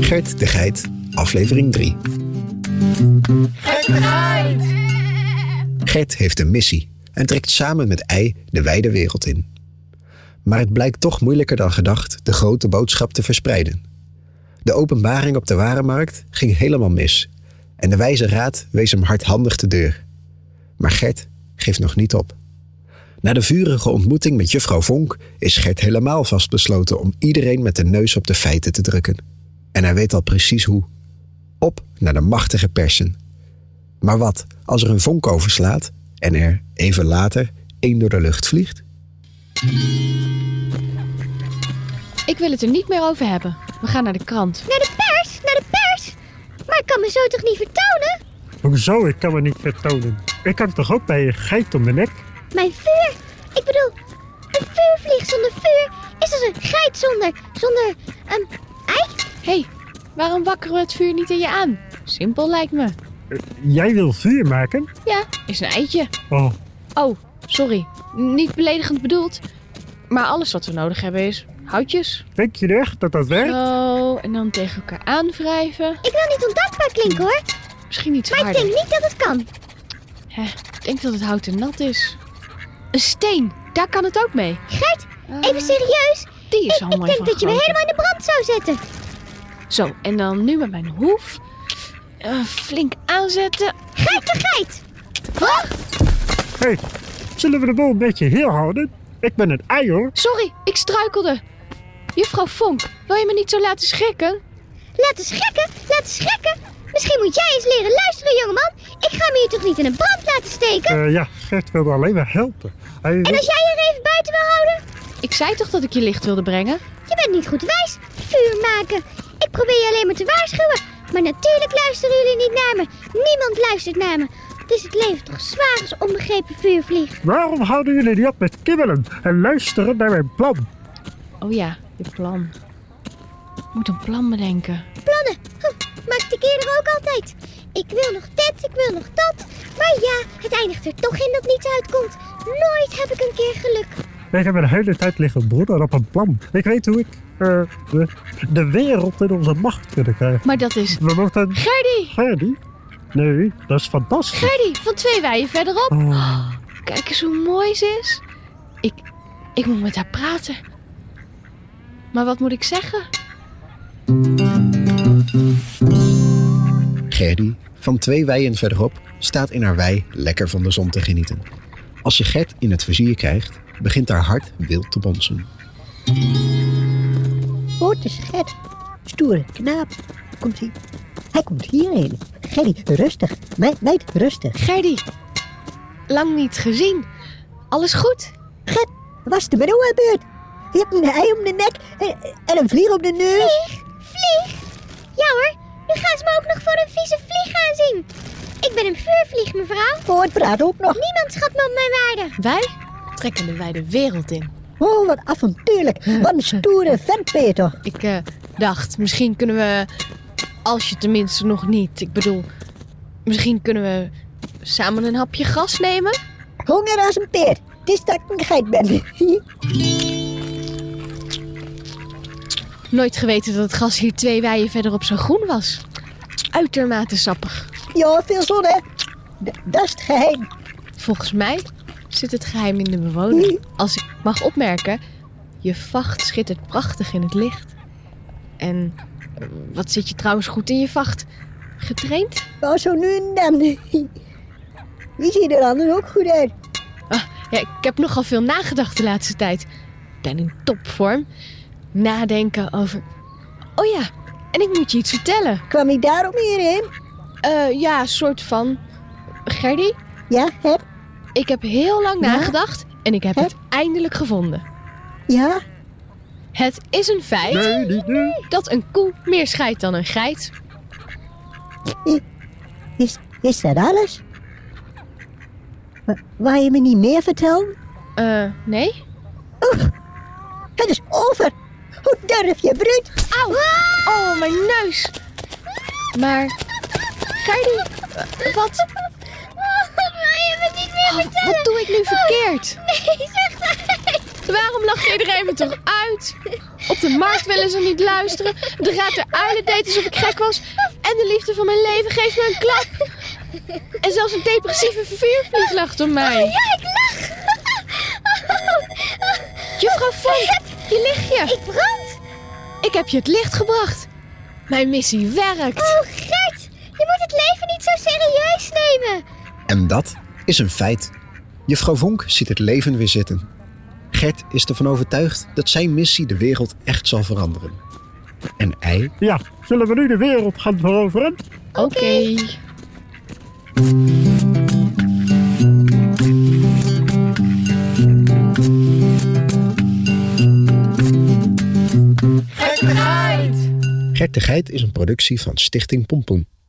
Gert de Geit, aflevering 3. Gert heeft een missie en trekt samen met Ei de wijde wereld in. Maar het blijkt toch moeilijker dan gedacht de grote boodschap te verspreiden. De openbaring op de warenmarkt ging helemaal mis en de wijze raad wees hem hardhandig de deur. Maar Gert geeft nog niet op. Na de vurige ontmoeting met juffrouw Vonk is Gert helemaal vastbesloten om iedereen met de neus op de feiten te drukken. En hij weet al precies hoe. Op naar de machtige persen. Maar wat als er een vonk overslaat en er, even later, één door de lucht vliegt? Ik wil het er niet meer over hebben. We gaan naar de krant. Naar de pers, naar de pers. Maar ik kan me zo toch niet vertonen? Hoezo? Ik kan me niet vertonen. Ik kan toch ook bij een geit om de nek? Mijn vuur. Ik bedoel, een vuurvlieg zonder vuur is als een geit zonder, zonder, ehm, ei. Hé, hey, waarom wakkeren we het vuur niet in je aan? Simpel lijkt me. Jij wil vuur maken? Ja, is een eitje. Oh, Oh, sorry. N- Niet beledigend bedoeld. Maar alles wat we nodig hebben is houtjes. denk je echt dat dat Hm. werkt? Zo, en dan tegen elkaar aanwrijven. Ik wil niet ondankbaar klinken hoor, Misschien iets maar ik denk harder. niet dat het kan. Hè, ik denk dat het hout te nat is. Een steen, daar kan het ook mee. Gert, Eh, even serieus. die Ik, is allemaal ik denk dat je me helemaal in de brand zou zetten. Zo, en dan nu met mijn hoef. Eh, flink aanzetten. Geit de geit. Oh, Hey, zullen we de boel een beetje heel houden? Ik ben een ei hoor. Sorry, ik struikelde. Juffrouw Vonk, wil je me niet zo laten schrikken? Laat eens schrikken, laat eens schrikken. Misschien moet jij eens leren luisteren, jongeman. Ik ga me hier toch niet in een brand laten steken? Eh, ja, Gert wilde alleen maar helpen. Hij En als jij er even buiten wil houden? Ik zei toch dat ik je licht wilde brengen? Je bent niet goed wijs, vuur maken. Ik probeer je alleen maar te waarschuwen. Maar natuurlijk luisteren jullie niet naar me. Niemand luistert naar me. Het is het leven toch zwaar als onbegrepen vuurvlieg. Waarom houden jullie niet op met kibbelen en luisteren naar mijn plan? Oh ja, je plan. Ik moet een plan bedenken. Plannen, huh, maakte ik eerder ook altijd. Ik wil nog dit, ik wil nog dat. Maar ja, het eindigt er toch in dat niets uitkomt. Nooit heb ik een keer geluk. Ik heb een hele tijd liggen broeden op een plan. Ik weet hoe ik eh, de, de wereld in onze macht kunnen krijgen. Maar dat is... We moeten... Gerdy! Gerdy? Nee, dat is fantastisch. Gerdy, van twee weien verderop. Oh. Kijk eens hoe mooi ze is. Ik... Ik moet met haar praten. Maar wat moet ik zeggen? Gerdy, van twee weien verderop, staat in haar wei lekker van de zon te genieten. Als je Gert in het vizier krijgt, begint haar hart wild te bonzen. Hoort eens, Gert. Stoere knaap. Komt hij? Hij komt hierheen. Gerry, rustig. Meid, meid, rustig. Gerdy, lang niet gezien. Alles goed? Gert, wat is er met jou gebeurd? Je hebt een ei om de nek en, en een vlier op de neus. Vlieg? Ja hoor, nu gaan ze me ook nog voor een vieze vlieg aanzien. Ik ben een vuurvlieg, mevrouw. Oh, het praat ook nog. Niemand schat me op mijn waarde. Wij trekken de wijde wereld in. Oh, wat avontuurlijk. Wat een stoere vent ben je toch. Ik eh, dacht, misschien kunnen we, als je tenminste nog niet, ik bedoel, misschien kunnen we samen een hapje gas nemen. Honger als een peer. Het is dat ik een geit ben. Nooit geweten dat het gas hier twee weien verderop zo groen was. Uitermate sappig. ja, veel zon, hè. D- dat is het geheim. Volgens mij zit het geheim in de bewoning. Als ik mag opmerken, je vacht schittert prachtig in het licht. En eh, wat zit je trouwens goed in je vacht? Getraind? Maar zo nu en dan. Die ziet er anders ook goed uit. Ja, ik heb nogal veel nagedacht de laatste tijd. Ik ben in topvorm. Nadenken over. Oh ja, en ik moet je iets vertellen. Kwam hij daarom hierheen? Eh, ja, soort van. Gerdy, Ja, Gert? ik heb heel lang Ja? nagedacht en ik heb Hè? het eindelijk gevonden. Ja? Het is een feit Nee, niet nu. dat een koe meer scheidt dan een geit. Is, is dat alles? Wa- Waar je me niet meer vertelt? Eh, nee? Het is over! Hoe durf je, bruut? Auw! Oh, mijn neus! Maar. Gerdy, eh, wat, Oh, wil je me niet meer wat doe ik nu verkeerd? Nee, zeg maar. Waarom lacht iedereen me toch uit. Op de markt willen ze niet luisteren. De raad der uilen deed alsof ik gek was. En de liefde van mijn leven geeft me een klap. En zelfs een depressieve vuurvlieg lacht om mij. Ja, ik lach. Juffrouw Vonk, je lichtje. Ik brand. Ik heb je het licht gebracht. Mijn missie werkt. Oh, Gert. Je moet het leven niet zo serieus nemen. En dat is een feit. Juffrouw Vonk ziet het leven weer zitten. Gert is ervan overtuigd dat zijn missie de wereld echt zal veranderen. En Ei Ja, zullen we nu de wereld gaan veroveren? Oké. Gert de Geit is een productie van Stichting Pompoen.